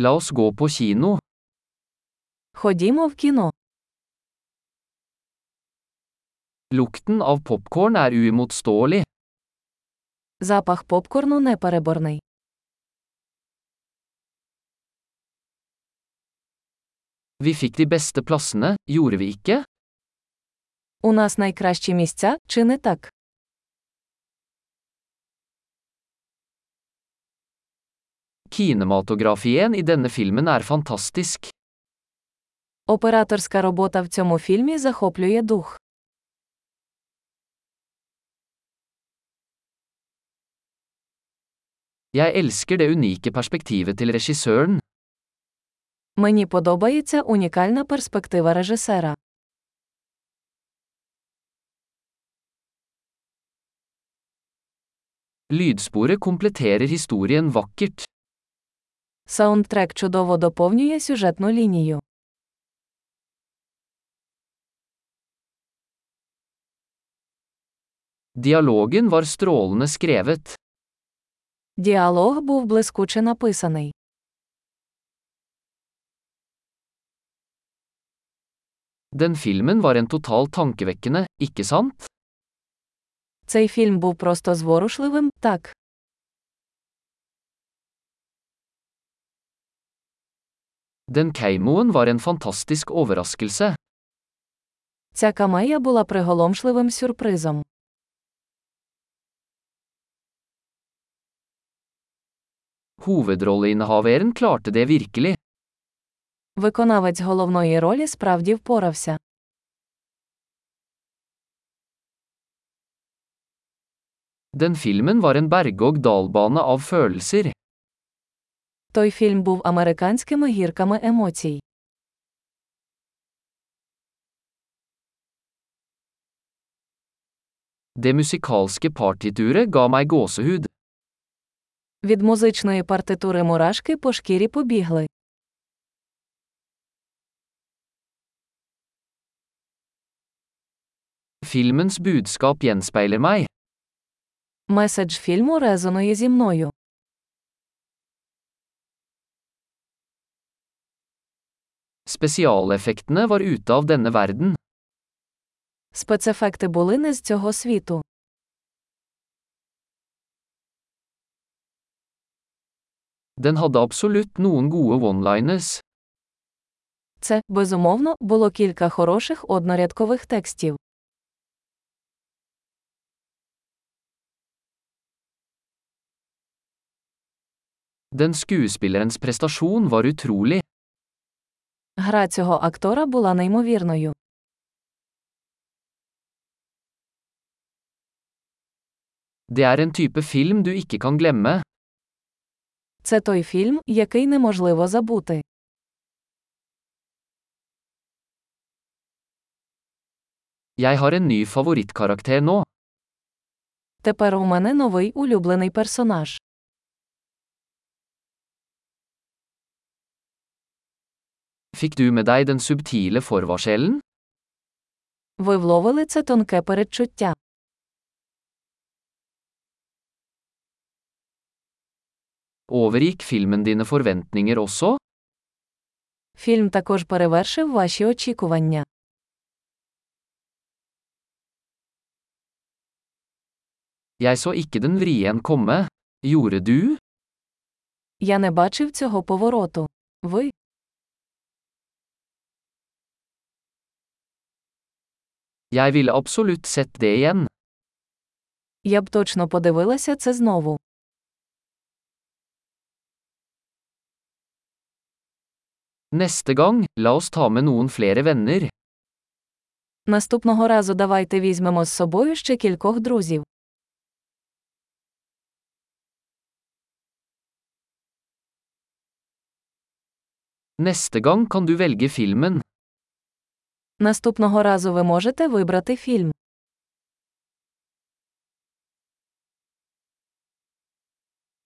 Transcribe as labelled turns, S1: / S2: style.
S1: La oss gå på kino.
S2: Ходімо в кіно.
S1: Lukten av popkorn er uimotståelig.
S2: Запах попкорну непереборний.
S1: Vi fikk de beste plassene, gjorde vi ikke?
S2: У нас найкращі місця, чи не так?
S1: Kinematografien i denne filmen er fantastisk.
S2: Операторська робота в цьому фільмі захоплює дух.
S1: Jeg elsker det unike perspektivet til regissøren.
S2: Мені подобається унікальна перспектива режисера.
S1: Lydsporet kompletterer historien vakkert.
S2: Саундтрек чудово доповнює сюжетну лінію.
S1: Dialogen var strålende skrevet.
S2: Діалог був блискуче написаний.
S1: Den filmen var en totalt tankevekkende, ikke sant?
S2: Цей фільм був просто зворушливим, так.
S1: Den keimoen var en fantastisk overraskelse.
S2: Ця камея була приголомшливим сюрпризом.
S1: Hovedrolleinnehaveren klarte det virkelig.
S2: Виконавець головної ролі справді впорався.
S1: Den filmen var en berg-og-dal-bane av følelser.
S2: Той фільм був американськими гірками емоцій.
S1: Det musikalske partituret ga meg gåsehud.
S2: Від музичної партитури мурашки по шкірі побігли.
S1: Filmens budskap gjenspeiler meg.
S2: Меседж фільму резонує зі мною.
S1: Spesialeffektene var ute av denne verden.
S2: Спецефекти були не з цього світу.
S1: Den hadde absolutt noen gode one-liners.
S2: Це, безумовно, було кілька хороших однорядкових текстів.
S1: Den skuespillerens prestasjon var utrolig.
S2: Гра цього актора була неймовірною.
S1: Det er en type film du ikke kan glemme.
S2: Це той фільм, який неможливо забути.
S1: Jeg har en ny favorittkarakter nå.
S2: Тепер у мене новий улюблений персонаж.
S1: Fikk du med deg den subtile forvarselen?
S2: Ви вловили це тонке передчуття.
S1: Overgikk filmen dine forventninger også?
S2: Фільм також перевершив ваші очікування.
S1: Jeg så ikke den vrien komme. Gjorde du?
S2: Я не бачив цього повороту. Ви
S1: Jeg ville absolutt sett det igjen.
S2: я б точно подивилася це знову.
S1: Neste gang, la oss ta med noen flere venner.
S2: Наступного разу давайте візьмемо з собою ще кількох друзів.
S1: Neste gang kan du velge filmen.
S2: Наступного разу ви можете вибрати фільм.